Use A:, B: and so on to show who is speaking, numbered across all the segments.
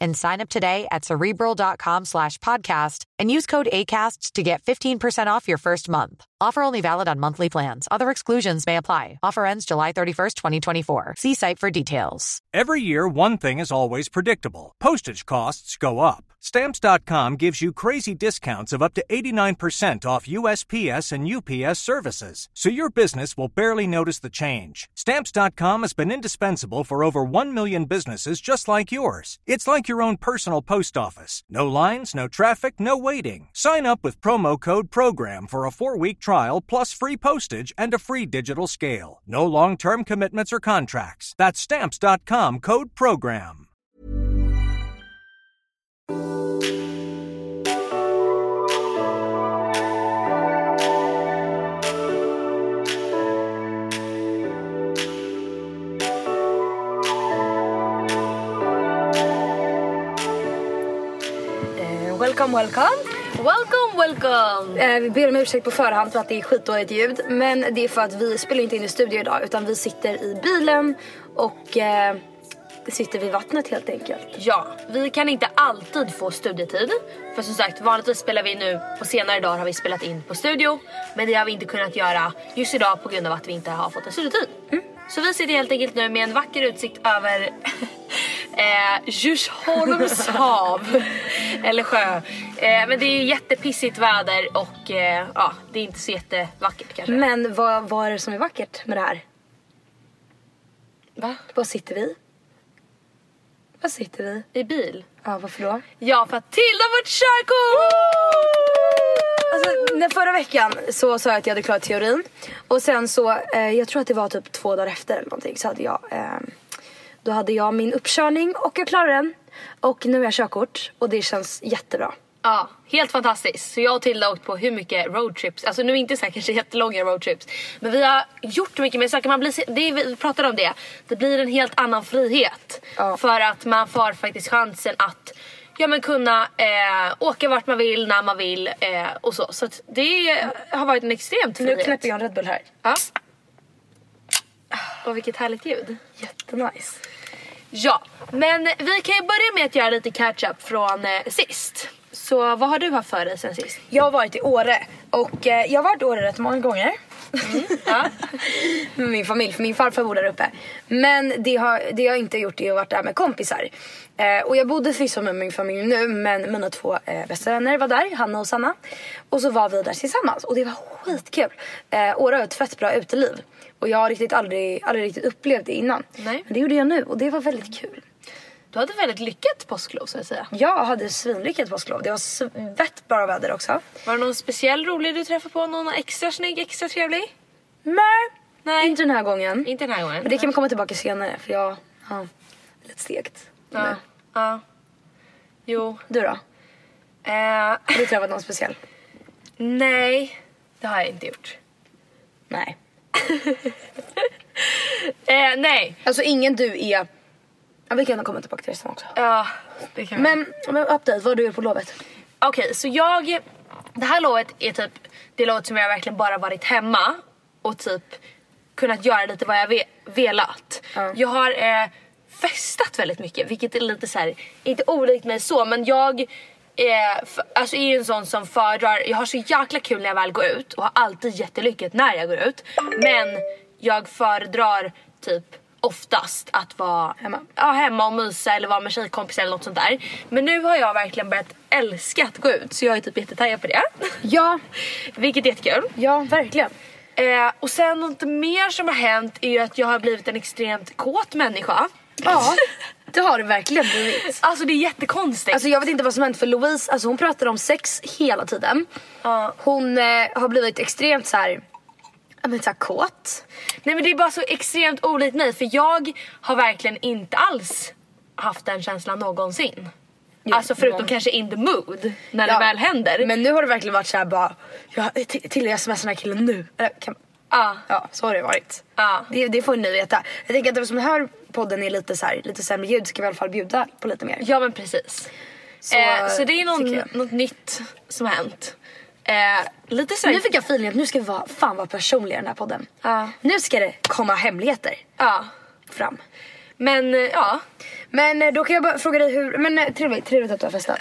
A: and sign up today at cerebral.com slash podcast and use code ACAST to get 15% off your first month. Offer only valid on monthly plans. Other exclusions may apply. Offer ends July 31st, 2024. See site for details.
B: Every year, one thing is always predictable postage costs go up. Stamps.com gives you crazy discounts of up to 89% off USPS and UPS services, so your business will barely notice the change. Stamps.com has been indispensable for over 1 million businesses just like yours. It's like your own personal post office no lines, no traffic, no waiting. Sign up with promo code PROGRAM for a four week trial plus free postage and a free digital scale. No long term commitments or contracts. That's stamps.com code PROGRAM.
C: Eh, welcome, welcome.
D: Welcome, welcome!
C: Eh, vi ber om ursäkt på förhand för att det är skitdåligt ljud. Men det är för att vi spelar inte in i studio idag utan vi sitter i bilen och eh, sitter vid vattnet helt enkelt.
D: Ja, vi kan inte alltid få studietid. För som sagt, vanligtvis spelar vi nu på senare dagar har vi spelat in på studio. Men det har vi inte kunnat göra just idag på grund av att vi inte har fått en studietid.
C: Mm.
D: Så vi sitter helt enkelt nu med en vacker utsikt över eh, Djursholms hav. Eller sjö. Eh, men det är ju jättepissigt väder och eh, ja, det är inte så jättevackert kanske.
C: Men vad, vad är det som är vackert med det här?
D: Va?
C: Var sitter vi? Var sitter vi?
D: I bil?
C: Ja, varför då?
D: Ja, för att Tilda har fått körkort!
C: Alltså, när förra veckan så sa jag att jag hade klarat teorin och sen så, eh, jag tror att det var typ två dagar efter eller någonting så hade jag, eh, då hade jag min uppkörning och jag klarade den. Och nu har jag körkort och det känns jättebra.
D: Ja, helt fantastiskt. Så jag och Tilda har åkt på hur mycket roadtrips, alltså nu inte så här kanske jättelånga roadtrips. Men vi har gjort mycket mer saker, man blir, se- det, är- vi pratade om det. Det blir en helt annan frihet.
C: Ja.
D: För att man får faktiskt chansen att ja, men kunna eh, åka vart man vill, när man vill eh, och så. Så att det har varit en extremt
C: Nu
D: frihet.
C: knäpper jag en Red Bull här.
D: Ja. Och vilket härligt ljud.
C: Jättenice.
D: Ja, men vi kan ju börja med att göra lite catch-up från eh, sist. Så vad har du haft för dig sen sist?
C: Jag har varit i Åre och eh, jag har varit i Åre rätt många gånger.
D: Mm. Ja.
C: med min familj, för min farfar bor där uppe. Men det, har, det jag inte har gjort är att vara där med kompisar. Eh, och jag bodde förvisso med min familj nu men mina två eh, bästa vänner var där, Hanna och Sanna. Och så var vi där tillsammans och det var skitkul. Eh, Åre har ett fett bra uteliv. Och jag har riktigt aldrig, aldrig riktigt upplevt det innan.
D: Nej.
C: Men det gjorde jag nu och det var väldigt kul.
D: Du hade väldigt lyckat påsklov så att säga.
C: Jag hade svinlyckat påsklov. Det var svett bra väder också.
D: Var det någon speciell rolig du träffade på? Någon extra snygg, extra trevlig?
C: Nej,
D: Nej.
C: inte den här gången.
D: Inte den här gången.
C: Men det kan vi komma tillbaka senare för jag har lite stekt.
D: ja. ja. Jo.
C: Du då?
D: Eh,
C: Har du träffat någon speciell?
D: nej, det har jag inte gjort.
C: Nej.
D: Eh, nej.
C: Alltså ingen du är... Ja, vi kan komma tillbaka till det sen också.
D: Ja, det kan
C: Men, men update, vad du är på lovet?
D: Okej, så jag... Det här lovet är typ det lovet som jag verkligen bara varit hemma och typ kunnat göra lite vad jag ve- velat.
C: Ja.
D: Jag har eh, festat väldigt mycket, vilket är lite så här, inte olikt mig så, men jag eh, för, alltså är ju en sån som föredrar, jag har så jäkla kul när jag väl går ut och har alltid jättelyckat när jag går ut. Men jag föredrar typ oftast att vara
C: Hemma.
D: Ja, hemma och mysa eller vara med tjejkompisar eller något sånt där. Men nu har jag verkligen börjat älska att gå ut så jag är typ jättetaggad på det.
C: Ja,
D: Vilket är jättekul.
C: ja verkligen.
D: Eh, och sen något mer som har hänt är ju att jag har blivit en extremt kåt människa.
C: Ja, det har det verkligen blivit.
D: Alltså det är jättekonstigt.
C: Alltså jag vet inte vad som hänt för Louise, alltså hon pratar om sex hela tiden. Hon eh, har blivit extremt så här, ja men så här kåt.
D: Nej men det är bara så extremt olikt mig för jag har verkligen inte alls haft den känslan någonsin. alltså förutom
C: någon-
D: kanske in the mood när
C: Ja.
D: det väl händer.
C: Men nu har det verkligen varit så här bara, jag till- till jag smsar den här killen nu. Eller, Kan,
D: Ja.
C: ja, så har det varit.
D: Ja.
C: Det, det får ni veta. Jag tänker att eftersom den här podden är lite så här, lite sämre ljud ska vi i alla fall bjuda på lite mer.
D: Ja men precis.
C: Så,
D: eh, så det är
C: tycker
D: någon,
C: jag.
D: något nytt som har hänt. Eh, lite så här-
C: Nu fick jag feeling att nu ska vi vara, fan vara personliga i den här podden.
D: Ja.
C: Nu ska det komma hemligheter
D: Ja.
C: fram.
D: Men eh, ja.
C: Men eh, då kan jag bara fråga dig hur, men eh, trevligt, trevligt att du har festat.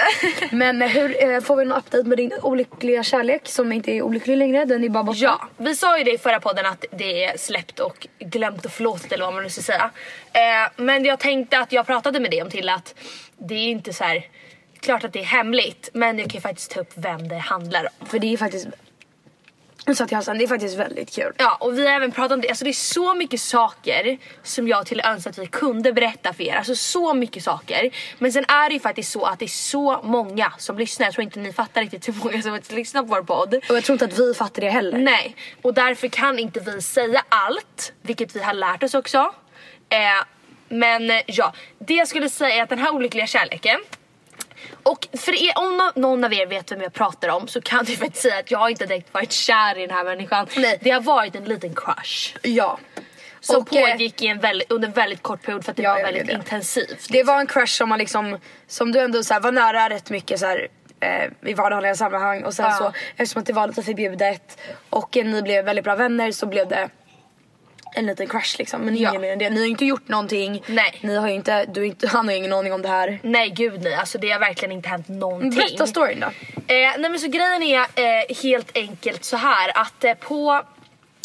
C: men eh, hur, eh, får vi någon update med din olyckliga kärlek som inte är olycklig längre? Den är bara borta.
D: Ja, vi sa ju det i förra podden att det är släppt och glömt och förlåtet eller vad man nu ska säga. Eh, men jag tänkte att jag pratade med dig om till att det är inte så här. klart att det är hemligt men jag kan ju faktiskt ta upp vem det handlar om.
C: För det är faktiskt, jag sa till Hassan, det är faktiskt väldigt kul.
D: Ja och vi har även pratat om det, alltså det är så mycket saker som jag till önskar att vi kunde berätta för er. Alltså så mycket saker. Men sen är det ju faktiskt så att det är så många som lyssnar. Jag tror inte ni fattar riktigt hur många som faktiskt lyssnar på vår podd.
C: Och jag tror inte att vi fattar det heller.
D: Nej, och därför kan inte vi säga allt, vilket vi har lärt oss också. Eh, men eh, ja, det jag skulle säga är att den här olyckliga kärleken och för er, om nå- någon av er vet vem jag pratar om så kan du faktiskt säga att jag har inte direkt varit kär i den här människan.
C: Nej.
D: Det har varit en liten crush.
C: Ja.
D: Som
C: Och, eh,
D: pågick i en väldigt, under en väldigt kort period för att det
C: Ja,
D: var
C: ja, det är
D: väldigt
C: det.
D: intensivt.
C: Det var en crush som man liksom, som du ändå så här, var nära rätt mycket så här, eh, i vardagliga sammanhang och sen
D: Ja.
C: så eftersom att det var lite förbjudet och eh, ni blev väldigt bra vänner så blev det en liten crush liksom. Men inget
D: Ja.
C: mer än det. Ni har ju inte gjort någonting.
D: Nej.
C: Ni har ju inte, du, har inte- han har ju ingen aning om det här.
D: Nej gud nej, alltså det har verkligen inte hänt någonting.
C: Berätta storyn då.
D: Eh, nej men så grejen är eh, helt enkelt så här att eh, på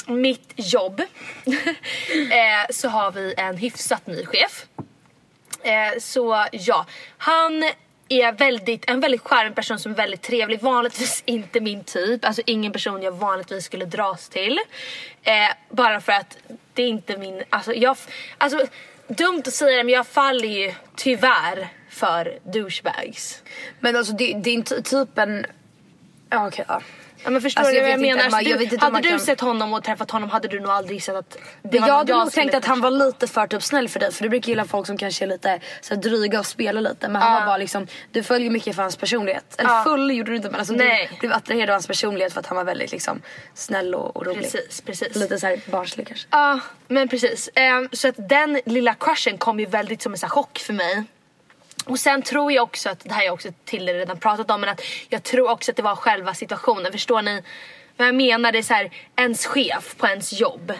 D: mitt jobb eh, så har vi en hyfsat ny chef. Eh, så ja, han är väldigt, en väldigt charmig person som är väldigt trevlig. Vanligtvis inte min typ, alltså ingen person jag vanligtvis skulle dras till. Eh, bara för att det är inte min, alltså jag, alltså dumt att säga det men jag faller ju tyvärr för douchebags.
C: Men alltså det, det är inte typ en, ja okej ja.
D: Ja, men förstår
C: Alltså,
D: du
C: jag
D: vad jag
C: vet inte,
D: menar?
C: Emma,
D: Alltså, du,
C: jag vet inte
D: hade
C: om man
D: du
C: kan-
D: sett honom och träffat honom hade du nog aldrig gissat att det
C: Jag
D: var någon
C: hade nog
D: skulle
C: tänkt att han var
D: träffa.
C: lite för typ snäll för dig för du brukar gilla folk som kanske är lite så här, dryga och spelar lite men han var bara liksom, du följer mycket för hans personlighet. Eller
D: Ja.
C: full gjorde du inte men alltså
D: Nej.
C: du blev attraherad av hans personlighet för att han var väldigt liksom snäll och, och rolig.
D: Precis, precis.
C: Lite såhär barnslig kanske.
D: Ja, men precis. Ehm, så att den lilla crushen kom ju väldigt som en så här chock för mig. Och sen tror jag också att, det här har jag också till er redan pratat om, men att jag tror också att det var själva situationen. Förstår ni vad jag menar? Det är så här, ens chef på ens jobb.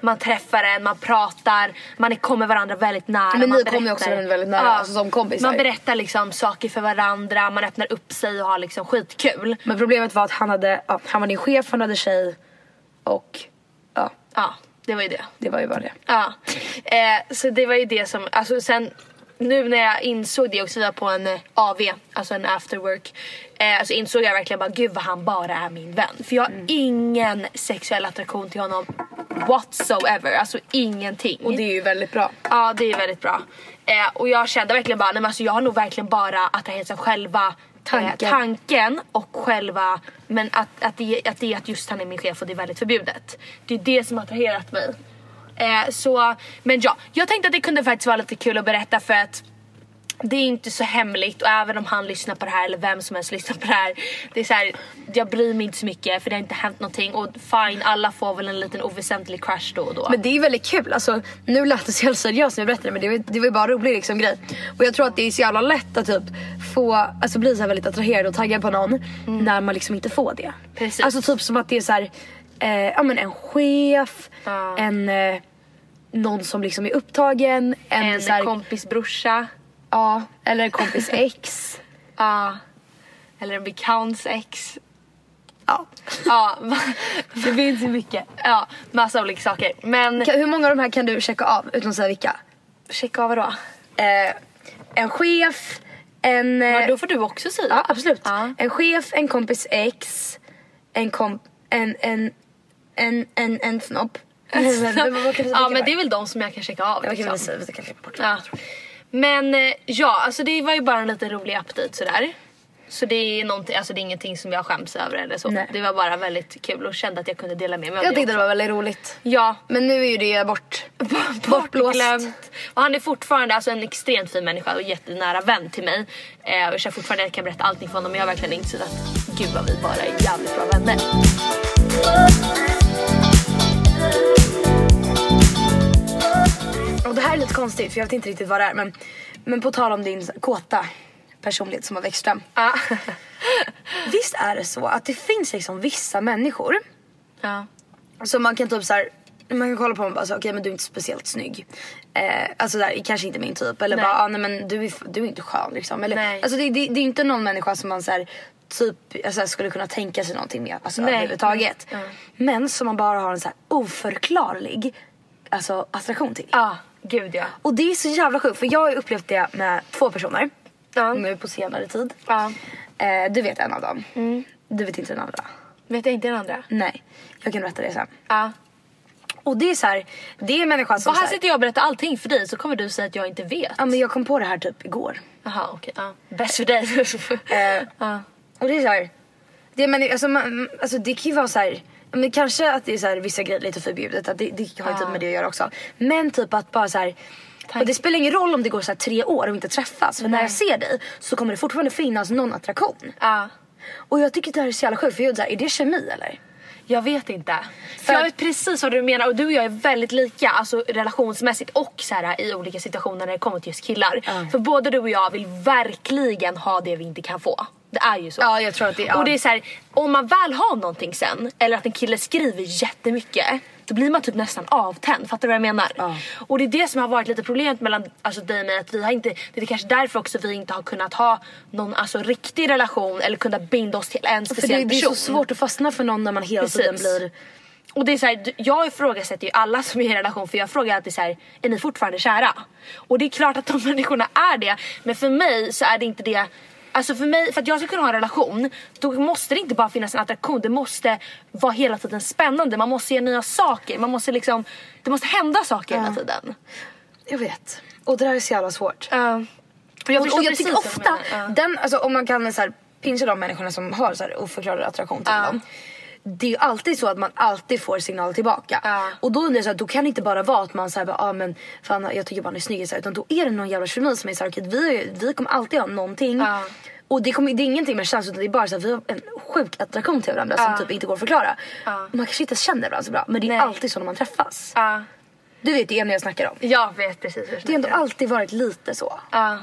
D: Man träffar en, man pratar, man kommer varandra väldigt nära.
C: Men
D: man
C: ni kommer ju också
D: berättar-
C: varandra väldigt nära, alltså som kompisar.
D: Man berättar liksom saker för varandra, man öppnar upp sig och har liksom skitkul.
C: Men problemet var att han hade, ja, han var din chef, han hade tjej och ja
D: Ja, det var ju det.
C: det var ju bara det.
D: Ja. Eh, så det var ju det som, alltså sen nu när jag insåg det också jag var på en eh, AV, alltså en after work. Eh, alltså insåg jag verkligen bara gud vad han bara är min vän. För jag har ingen sexuell attraktion till honom whatsoever. Alltså ingenting.
C: Och det är ju väldigt bra.
D: Ja det är väldigt bra. Eh, och jag kände verkligen bara, nej men alltså jag har nog verkligen bara attraherats av själva
C: Tanken.
D: Eh, tanken och själva, men att, att, det, att det är att just han är min chef och det är väldigt förbjudet. Det är det som har attraherat mig. Eh, så, men ja, jag tänkte att det kunde faktiskt vara lite kul att berätta för att det är inte så hemligt och även om han lyssnar på det här eller vem som helst lyssnar på det här. Det är så här, jag bryr mig inte så mycket för det har inte hänt någonting och fine alla får väl en liten oväsentlig crush då och då.
C: Men det är ju väldigt kul. Alltså, nu lät det så jävla seriöst när jag berättade men det var, det var ju bara en rolig liksom, grej. Och jag tror att det är så jävla lätt att typ få, alltså, bli så här väldigt attraherad och taggad på någon när man liksom inte får det.
D: Mm. Precis.
C: Alltså typ som att det är så här, eh, ja, men en chef,
D: Ja.
C: en, eh, någon som liksom är upptagen, en,
D: en
C: så här,
D: kompis brorsa.
C: ja, eller en kompis ex.
D: Ja. Eller en bekants ex.
C: Ja.
D: Ja, det finns ju mycket. Ja, massa olika saker. Men
C: Kan- Hur många av de här kan du checka av utan att säga vilka?
D: checka av vadå?
C: Eh, en chef, en... eh,
D: Men då får du också säga.
C: Ja, absolut. Eh,
D: Ja.
C: En chef, en kompis ex, en komp... En, en, en, en, en snopp.
D: ja men det är väl de som jag kan checka av.
C: Vad kan vi
D: liksom.
C: säga? Vi kan klippa bort.
D: Ja. Men eh, ja, alltså det var ju bara en liten rolig update sådär. Så det är, någonting- alltså det är ingenting som jag skäms över eller så.
C: Nej.
D: Det var bara väldigt kul och kände att jag kunde dela med mig av
C: Jag tyckte
D: också.
C: det var väldigt roligt.
D: Ja,
C: Men nu är ju det bort... Bortblåst.
D: bortglömt. Och han är fortfarande alltså, en extremt fin människa och jättenära vän till mig. Eh, och jag känner fortfarande att jag kan berätta allting för honom men jag har verkligen insett att gud vad vi bara är jävligt bra vänner.
C: Och det här är lite konstigt för jag vet inte riktigt vad det är men, men på tal om din kåta personlighet som har växt fram.
D: Ja.
C: Visst är det så att det finns liksom vissa människor
D: ja.
C: som man kan typ så här, man kan kolla på dem och bara så, okej men du är inte speciellt snygg. Eh, alltså där, kanske inte min typ eller
D: Nej.
C: bara ah, nej men du är, f- du är inte skön liksom. Eller,
D: Nej.
C: alltså det, det, det är inte någon människa som man så här, typ alltså, skulle kunna tänka sig någonting med alltså,
D: Nej.
C: överhuvudtaget.
D: Mm.
C: Men som man bara har en så här oförklarlig alltså, attraktion till.
D: Ja, gud ja.
C: Och det är så jävla sjukt för jag har ju upplevt det med två personer
D: Ja.
C: nu på senare tid.
D: Ja. Mm.
C: Eh, du vet en av dem. Du vet inte den andra.
D: Vet jag inte den andra?
C: Nej, jag kan berätta det sen.
D: Ja.
C: Och det är så här, det är en människa som
D: Och
C: så
D: här
C: här,
D: sitter jag och berättar allting för dig så kommer du säga att jag inte vet.
C: Ja men jag kom på det här typ igår.
D: Jaha okej. Ja. Bäst för dig.
C: Eh,
D: ja.
C: Och det är så här, det, men, alltså, man, alltså det kan ju vara så här, men kanske att det är så här, vissa grejer lite förbjudet, att det, det har ju typ med det att göra också. Men typ att bara så här, och det spelar ingen roll om det går så här tre år och vi inte träffas för när jag ser dig så kommer det fortfarande finnas någon attraktion.
D: ja.
C: Och jag tycker det här är så jävla sjukt för jag är så här, är det kemi eller?
D: Jag vet inte.
C: För-
D: För jag vet precis vad du menar och du och jag är väldigt lika alltså relationsmässigt och så här, i olika situationer när det kommer till just killar. För både du och jag vill verkligen ha det vi inte kan få. Det är ju så.
C: Ja, jag tror att det- ja.
D: Och det är så här, om man väl har någonting sen eller att en kille skriver jättemycket då blir man typ nästan avtänd, fattar du vad jag menar?
C: Ja.
D: Och det är det som har varit lite problemet mellan alltså, dig och mig att vi har inte, det är kanske därför också vi inte har kunnat ha någon alltså, riktig relation eller kunnat binda oss till en
C: För
D: speciell
C: det, det är
D: person.
C: så svårt att fastna för någon när man hela tiden
D: Precis.
C: blir
D: Och det är så här, du- jag ifrågasätter ju alla som är i en relation för jag frågar alltid så här, är ni fortfarande kära? Och det är klart att de människorna är det men för mig så är det inte det Alltså för mig, för att jag ska kunna ha en relation då måste det inte bara finnas en attraktion det måste vara hela tiden spännande man måste göra nya saker man måste liksom det måste hända saker hela tiden.
C: Jag vet. Och det där är så jävla svårt.
D: och jag,
C: och,
D: förstår
C: och jag
D: precis
C: tycker
D: vad du
C: ofta,
D: menar. Ja.
C: den, alltså, om man kan så här, pincha de människorna som har så här, oförklarad attraktion till
D: Ja.
C: dem. Det är ju alltid så att man alltid får signal tillbaka.
D: Ja.
C: Och då undrar jag så här, då kan det inte bara vara att man säger ah, men fan jag tycker bara han är snygg. Så här, utan då är det någon jävla kemi som är såhär, okej vi, vi kommer alltid ha någonting.
D: Ja.
C: Och det, kommer, det är ingenting med chans utan det är bara så här, vi har en sjuk attraktion till varandra som typ inte går att förklara. Och man kanske inte känner varandra så bra men det är
D: Nej.
C: alltid så när man träffas.
D: Ja,
C: Du vet det ena jag snackar om.
D: jag vet precis hur
C: Det har ändå alltid varit lite så.
D: Ja.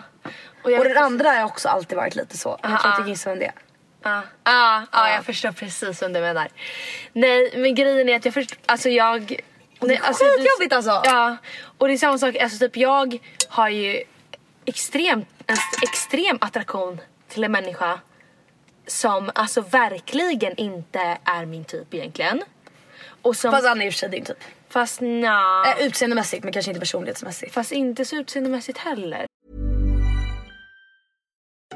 D: Och, jag
C: Och
D: vet
C: den andra har också alltid varit lite så. Jag tror
D: Ah,
C: inte
D: ah.
C: du gissar vem det är.
D: Ja, ja, Ah, ja, jag förstår precis vad du menar. Nej, men grejen är att jag förstår, alltså jag...
C: det är skitjobbigt alltså.
D: Ja, och det är samma sak, alltså typ jag har ju extrem, en extrem attraktion till en människa som alltså verkligen inte är min typ egentligen. Och som,
C: Fast
D: fast,
C: han är i och för sig din typ.
D: fast nja,
C: Eh, utseendemässigt men kanske inte personlighetsmässigt.
D: fast inte så utseendemässigt heller.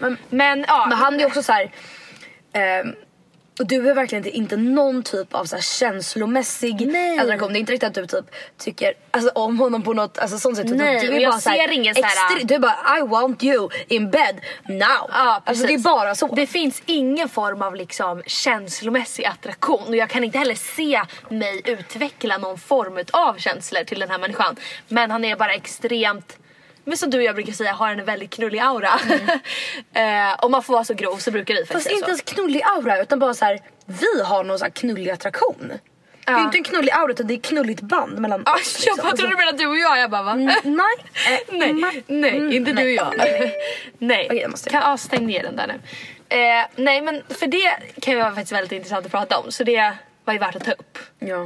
C: Men,
D: Men ja,
C: men han är också så här. ehm, och du är verkligen inte, inte någon typ av så här känslomässig
D: Nej.
C: attraktion. Det är inte riktigt att du typ tycker alltså, om honom på något alltså, sånt sätt. utan
D: Nej,
C: du
D: och
C: är
D: jag
C: bara så här,
D: ser ingen så här-
C: extre- Du är bara I want you in bed now.
D: Ja,
C: alltså, det är
D: precis.
C: bara så.
D: Det finns ingen form av liksom känslomässig attraktion och jag kan inte heller se mig utveckla någon form av känslor till den här människan. Men han är bara extremt men som du och jag brukar säga har en väldigt knullig aura. eh, om man får vara så grov så brukar vi faktiskt
C: Mm. Fast
D: säga
C: inte
D: så.
C: ens knullig aura utan bara så här. vi har någon så här knullig attraktion. Det är ju inte en knullig aura utan det är ett knulligt band mellan
D: Ah,
C: oss.
D: jag
C: liksom.
D: bara trodde du menade du och jag, jag bara va?
C: Mm, nej. Eh,
D: nej,
C: nej.
D: nej,
C: Mm,
D: inte du och
C: nej.
D: jag. nej,
C: Okej, jag måste-
D: kan, ah, stäng ner den där nu. Eh, nej men för det kan ju vara faktiskt väldigt intressant att prata om så det var ju värt att ta upp.
C: Ja.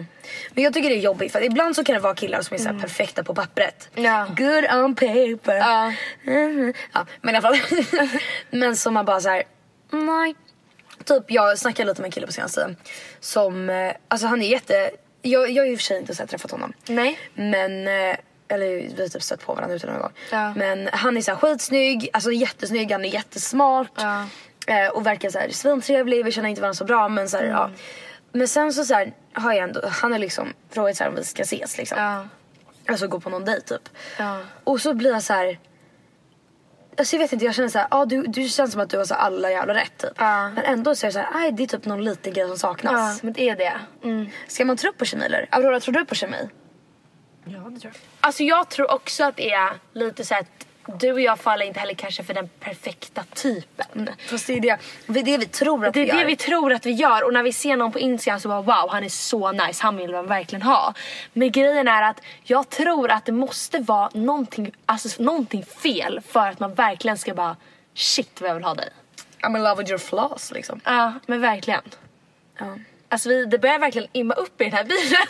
C: Men jag tycker det är jobbigt för att ibland så kan det vara killar som är så här perfekta på pappret.
D: Mm. Ja.
C: Good on paper.
D: Ja.
C: Mhm. Ja, men i alla fall. men som man bara så här. nej. Typ jag snackade lite med en kille på senaste tiden. Som, eh, alltså han är jätte, jag, jag har ju i och för sig inte så här träffat honom.
D: Nej.
C: Men, eh, eller vi har typ stött på varandra ute någon gång.
D: Ja.
C: Men han är så här skitsnygg, alltså jättesnygg, han är jättesmart.
D: Ja.
C: Eh, och verkar så här svintrevlig, vi känner inte varandra så bra men så här, ja.
D: Mm.
C: Men sen så, så här, har jag ändå, han har liksom frågat så här om vi ska ses liksom.
D: Ja.
C: Alltså gå på någon dejt typ.
D: Ja.
C: Och så blir jag så här. Alltså jag vet inte, jag känner såhär, ah, du, du känns som att du har så här alla jävla rätt typ.
D: Ja.
C: Men ändå så är det såhär, aj det är typ någon liten grej som
D: Ja,
C: saknas.
D: men det är det. Mm.
C: Ska man tro på kemiler? Aurora, tror du på kemi?
D: Alltså jag tror också att det är lite så här att du och jag faller inte heller kanske för den perfekta typen.
C: Fast det är det, det, är det vi tror att
D: Det
C: vi
D: är det
C: gör.
D: vi tror att vi gör och när vi ser någon på Instagram så bara wow han är så nice, han vill man verkligen ha. Men grejen är att jag tror att det måste vara någonting, alltså, någonting fel för att man verkligen ska bara shit vad jag vill ha dig.
C: I'm in love with your flaws liksom.
D: Ja men verkligen.
C: Ja.
D: Alltså vi, det börjar verkligen imma upp i den här bilen.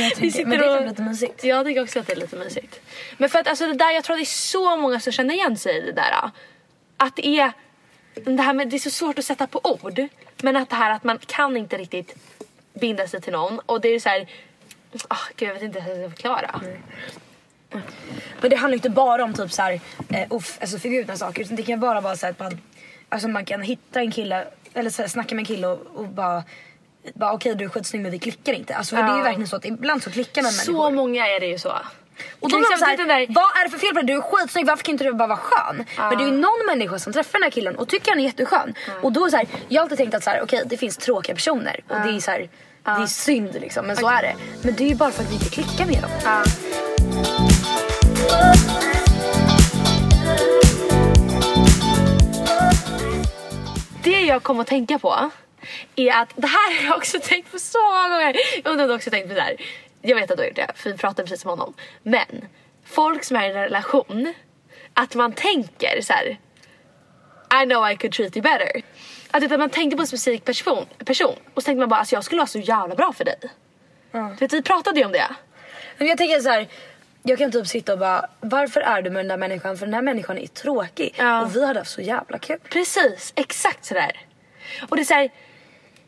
C: jag tänker-
D: Vi sitter
C: men det är
D: och-
C: typ lite mysigt.
D: Jag tycker också att det är lite mysigt. Men för att alltså det där, jag tror att det är så många som känner igen sig i det där. ja. Att det är, det här med, det är så svårt att sätta på ord. Men att det här att man kan inte riktigt binda sig till någon. Och det är ju så här, ah gud jag vet inte hur jag ska
C: Mm.
D: förklara.
C: Men det handlar ju inte bara om typ så här, eh, off, alltså förbjudna saker utan det kan bara vara så här att man, alltså man kan hitta en kille eller så här, snacka med en kille och, och bara bara okej du är skitsnygg men vi klickar inte. Alltså för det är ju
D: Ja.
C: verkligen så att ibland så klickar man med
D: Så
C: människor.
D: många är det ju så.
C: Och
D: Och
C: då
D: till
C: blir man
D: exempel
C: såhär,
D: den där,
C: vad är det för fel på dig? Du är skitsnygg, varför kan inte du bara vara skön? Men det är ju någon människa som träffar den här killen och tycker han är jätteskön. Och då är det så här, jag har alltid tänkt att så här, okej det finns tråkiga personer och det är så här, det är synd liksom men så är det. Men det är ju bara för att vi inte klickar med dem.
D: det jag kom att tänka på är att det här har jag också tänkt på så många gånger. Jag undrar om du också tänkt på det här. Jag vet att du har gjort det för vi pratade precis om honom. Men folk som är i en relation, att man tänker så här. I know I could treat you better. Att, vet, att man tänkte på en specifik person, person och så tänkte man bara alltså jag skulle vara så jävla bra för dig. Du vet, vi pratade ju om det.
C: Men jag tänker så här. Jag kan typ sitta och bara, varför är du med den där människan? För den där människan är tråkig.
D: Ja.
C: Och vi hade haft så jävla kul.
D: Precis, exakt sådär. Och det är såhär,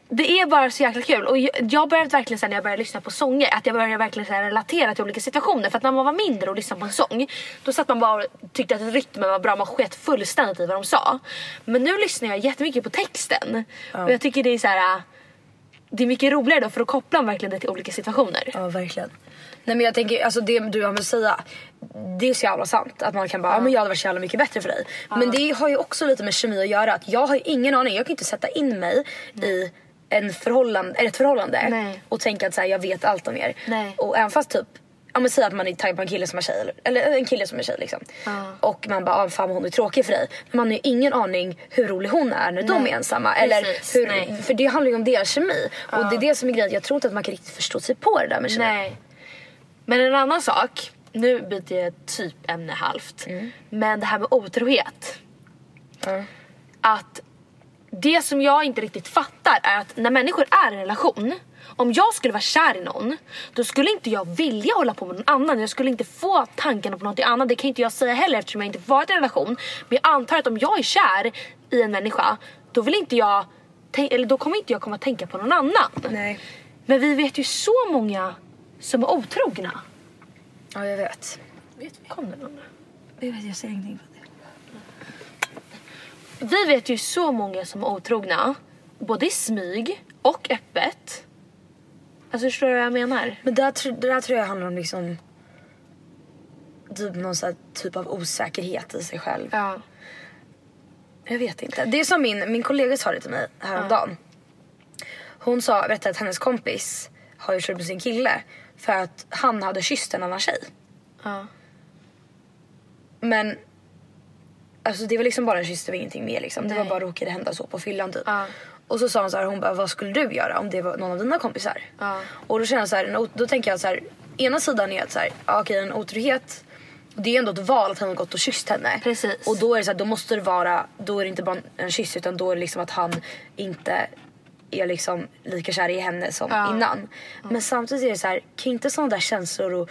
D: det är bara så jäkla kul. Och jag- jag började verkligen sen när jag började lyssna på sånger, att jag började verkligen så här relatera till olika situationer. För att när man var mindre och lyssnade på en sång, då satt man bara och tyckte att rytmen var bra, man sket fullständigt i vad de sa. Men nu lyssnar jag jättemycket på texten. Och jag tycker det är så här. det är mycket roligare då för då kopplar man verkligen det till olika situationer.
C: Ja verkligen. Nej men jag tänker, alltså det du har med att säga, det är så jävla sant. Att man kan bara, ja men jag hade varit så jävla mycket bättre för dig. Men det har ju också lite med kemi att göra. Att jag har ju ingen aning, jag kan ju inte sätta in mig i en förhållande, eller ett förhållande
D: Nej.
C: och tänka att så här, jag vet allt om er.
D: Nej.
C: Och även fast typ, ja men säg att man är taggad på en kille som är tjej, eller- eller en kille som är tjej liksom. Och man bara, ah, fan hon är tråkig för dig. Men man har ju ingen aning hur rolig hon är när de är ensamma. Eller
D: Precis,
C: hur,
D: nej.
C: för det handlar ju om deras kemi. Och det är det som är grejen, jag tror inte att man kan riktigt förstå sig på det där med kemi.
D: Nej. Men en annan sak, nu byter jag typ ämne halvt. Men det här med otrohet. Att det som jag inte riktigt fattar är att när människor är i en relation, om jag skulle vara kär i någon, då skulle inte jag vilja hålla på med någon annan. Jag skulle inte få tankarna på något annat. Det kan inte jag säga heller eftersom jag inte varit i en relation. Men jag antar att om jag är kär i en människa, då vill inte jag, tän- eller då kommer inte jag komma att tänka på någon annan.
C: Nej.
D: Men vi vet ju så många som är otrogna.
C: Ja, jag vet.
D: Kom det någon?
C: Jag vet, jag säger ingenting på det.
D: Vi vet ju så många som är otrogna. Både i smyg och öppet. Alltså förstår du vad jag menar?
C: Men där, tr- det där tror jag handlar om liksom typ någon så här typ av osäkerhet i sig själv.
D: Ja.
C: Jag vet inte. Det är som min, min kollega sa det till mig häromdagen. Hon sa, berättade att hennes kompis har ju slut med sin kille för att han hade kysst en annan tjej.
D: Ja.
C: Men alltså det var liksom bara en kyss, det var ingenting mer liksom. Det var bara råkade hända så på fyllan typ. Och så sa hon så här, hon bara vad skulle du göra om det var någon av dina kompisar? Och då känner jag så här, en ot- då tänker jag så här, ena sidan är att så här, ja, okej en otrohet det är ändå ett val att han har gått och kysst henne.
D: Precis.
C: Och då är det så här, då måste det vara, då är det inte bara en kyss utan då är det liksom att han inte är liksom lika kär i henne som innan. Men samtidigt är det så här, kan inte sådana där känslor och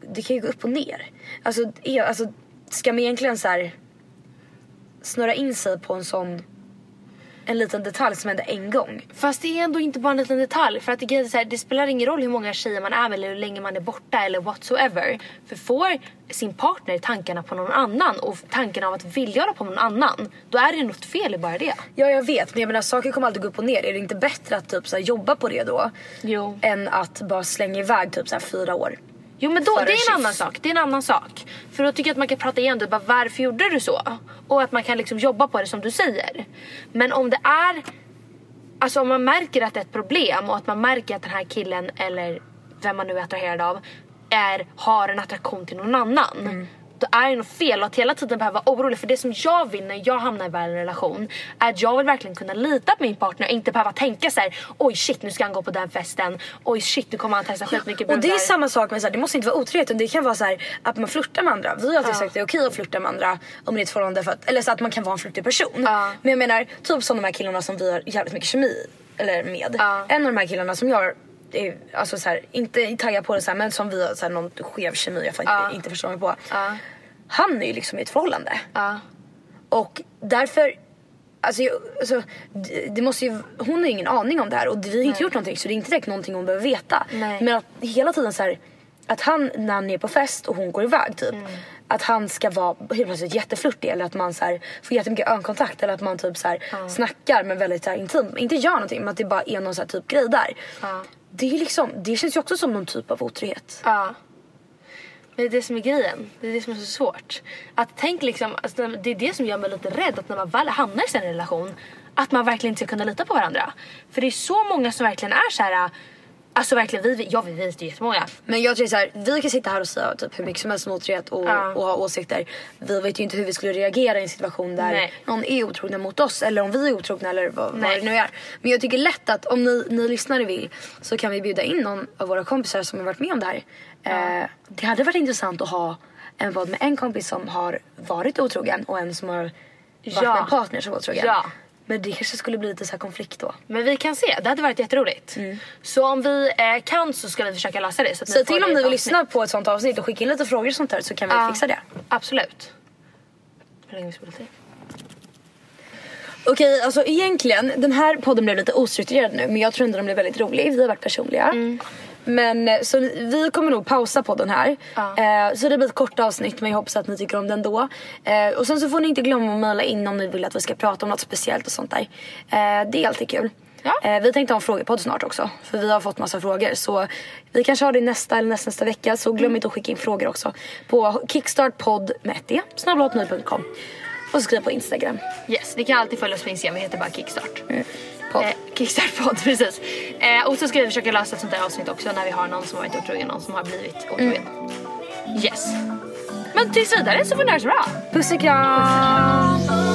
C: det kan ju gå upp och ner. Alltså, är, alltså ska man egentligen så här snurra in sig på en sån en liten detalj som hände en gång.
D: Fast det är ändå inte bara en liten detalj. För att det, är så här, det spelar ingen roll hur många tjejer man är med eller hur länge man är borta eller whatsoever. För får sin partner tankarna på någon annan och tanken av att vilja hålla på med någon annan. Då är det något fel i bara det.
C: Ja jag vet men jag menar saker kommer alltid gå upp och ner. Är det inte bättre att typ så här, jobba på det då?
D: Jo.
C: Än att bara slänga iväg typ så här, fyra år.
D: Jo men då,
C: För
D: det är
C: en
D: en
C: kyss.
D: annan sak. Det är en annan sak. För då tycker jag att man kan prata igen det, bara varför gjorde du så? Och att man kan liksom jobba på det som du säger. Men om det är, alltså om man märker att det är ett problem och att man märker att den här killen eller vem man nu är attraherad av är, har en attraktion till någon annan.
C: Mm.
D: Då är det något fel och att hela tiden behöva vara orolig. För det som jag vill när jag hamnar väl i en relation är att jag vill verkligen kunna lita på min partner och inte behöva tänka så här: oj shit nu ska han gå på den festen. Oj shit nu kommer han testa skitmycket
C: Och det är
D: brudar."
C: samma sak med så här, det måste inte vara otrohet utan det kan vara så här, att man flörtar med andra. Vi har alltid sagt att det är okej att flörta med andra om det är ett förhållande för att, eller så att man kan vara en flörtig person. Men jag menar typ som de här killarna som vi har jävligt mycket kemi eller med. En av de här killarna som jag är, alltså så här, inte taggad på det så här, men som vi har så här, någon skev kemi jag fan inte, inte förstår mig på. Han är ju liksom i ett förhållande. Och därför Alltså, jag, alltså det, det måste ju, hon har ju ingen aning om det här och vi har inte gjort någonting så det är inte direkt någonting hon behöver veta.
D: Nej.
C: Men att hela tiden så här, att han när han är på fest och hon går iväg typ. Att han ska vara helt plötsligt jätteflörtig eller att man så här, får jättemycket ögonkontakt eller att man typ så här, snackar men väldigt så här, intimt. Inte gör någonting men att det bara är någon så här, typ grej där. Det, är liksom, det känns ju också som någon typ av otrohet.
D: Ja. Men det är det som är grejen. Det är det som är så svårt. Att tänk liksom, alltså, det är det som gör mig lite rädd att när man väl hamnar i sin relation att man verkligen inte ska kunna lita på varandra. För det är så många som verkligen är så här. Alltså verkligen, vi, ja, vi vet ju jättemånga.
C: Men jag tror så här, vi kan sitta här och säga typ hur mycket som helst om otrohet och, och ha åsikter. Vi vet ju inte hur vi skulle reagera i en situation där
D: Nej.
C: någon är otrogen mot oss eller om vi är otrogna eller vad, vad
D: Nej.
C: det nu är. Men jag tycker lätt att om ni, ni lyssnare vill så kan vi bjuda in någon av våra kompisar som har varit med om det här. Eh, det hade varit intressant att ha en podd med en kompis som har varit otrogen och en som har varit
D: Ja.
C: med en partner som var otrogen.
D: Ja.
C: Men det kanske skulle bli lite så här konflikt då.
D: Men vi kan se, det hade varit jätteroligt. Så om vi eh, kan så ska vi försöka lösa det. Så att
C: Mm. Säg
D: får
C: till om
D: det
C: ni vill
D: avsnitt.
C: lyssna på ett sånt avsnitt och skicka in lite frågor och sånt där så kan vi
D: Ja.
C: fixa det.
D: Absolut. Hur länge har vi spelat i?
C: Okej, alltså egentligen, den här podden blev lite ostrukturerad nu men jag tror ändå den blev väldigt rolig. Vi har varit personliga.
D: Mm.
C: Men eh, så vi kommer nog pausa podden här. Eh, så det blir ett kort avsnitt men jag hoppas att ni tycker om den då. Eh, och sen så får ni inte glömma att mejla in om ni vill att vi ska prata om något speciellt och sånt där. Eh, det är alltid kul.
D: Ja.
C: Eh, vi tänkte ha en frågepodd snart också för vi har fått massa frågor så vi kanske har det nästa eller nästa, nästa vecka så
D: Mm.
C: glöm inte att skicka in frågor också på kickstartpodd med ett e, d, snabblathotmail.com och så skriv på instagram.
D: Yes, ni kan alltid följa oss på Instagram, vi heter bara Kickstart.
C: Podd.
D: Eh, Kickstart-podd, precis. Eh, och så ska vi försöka lösa ett sånt här avsnitt också när vi har någon som har varit otrogen, någon som har blivit otrogen. Yes. Men tills vidare så får ni ha det så bra.
C: Puss och kram!
E: Oh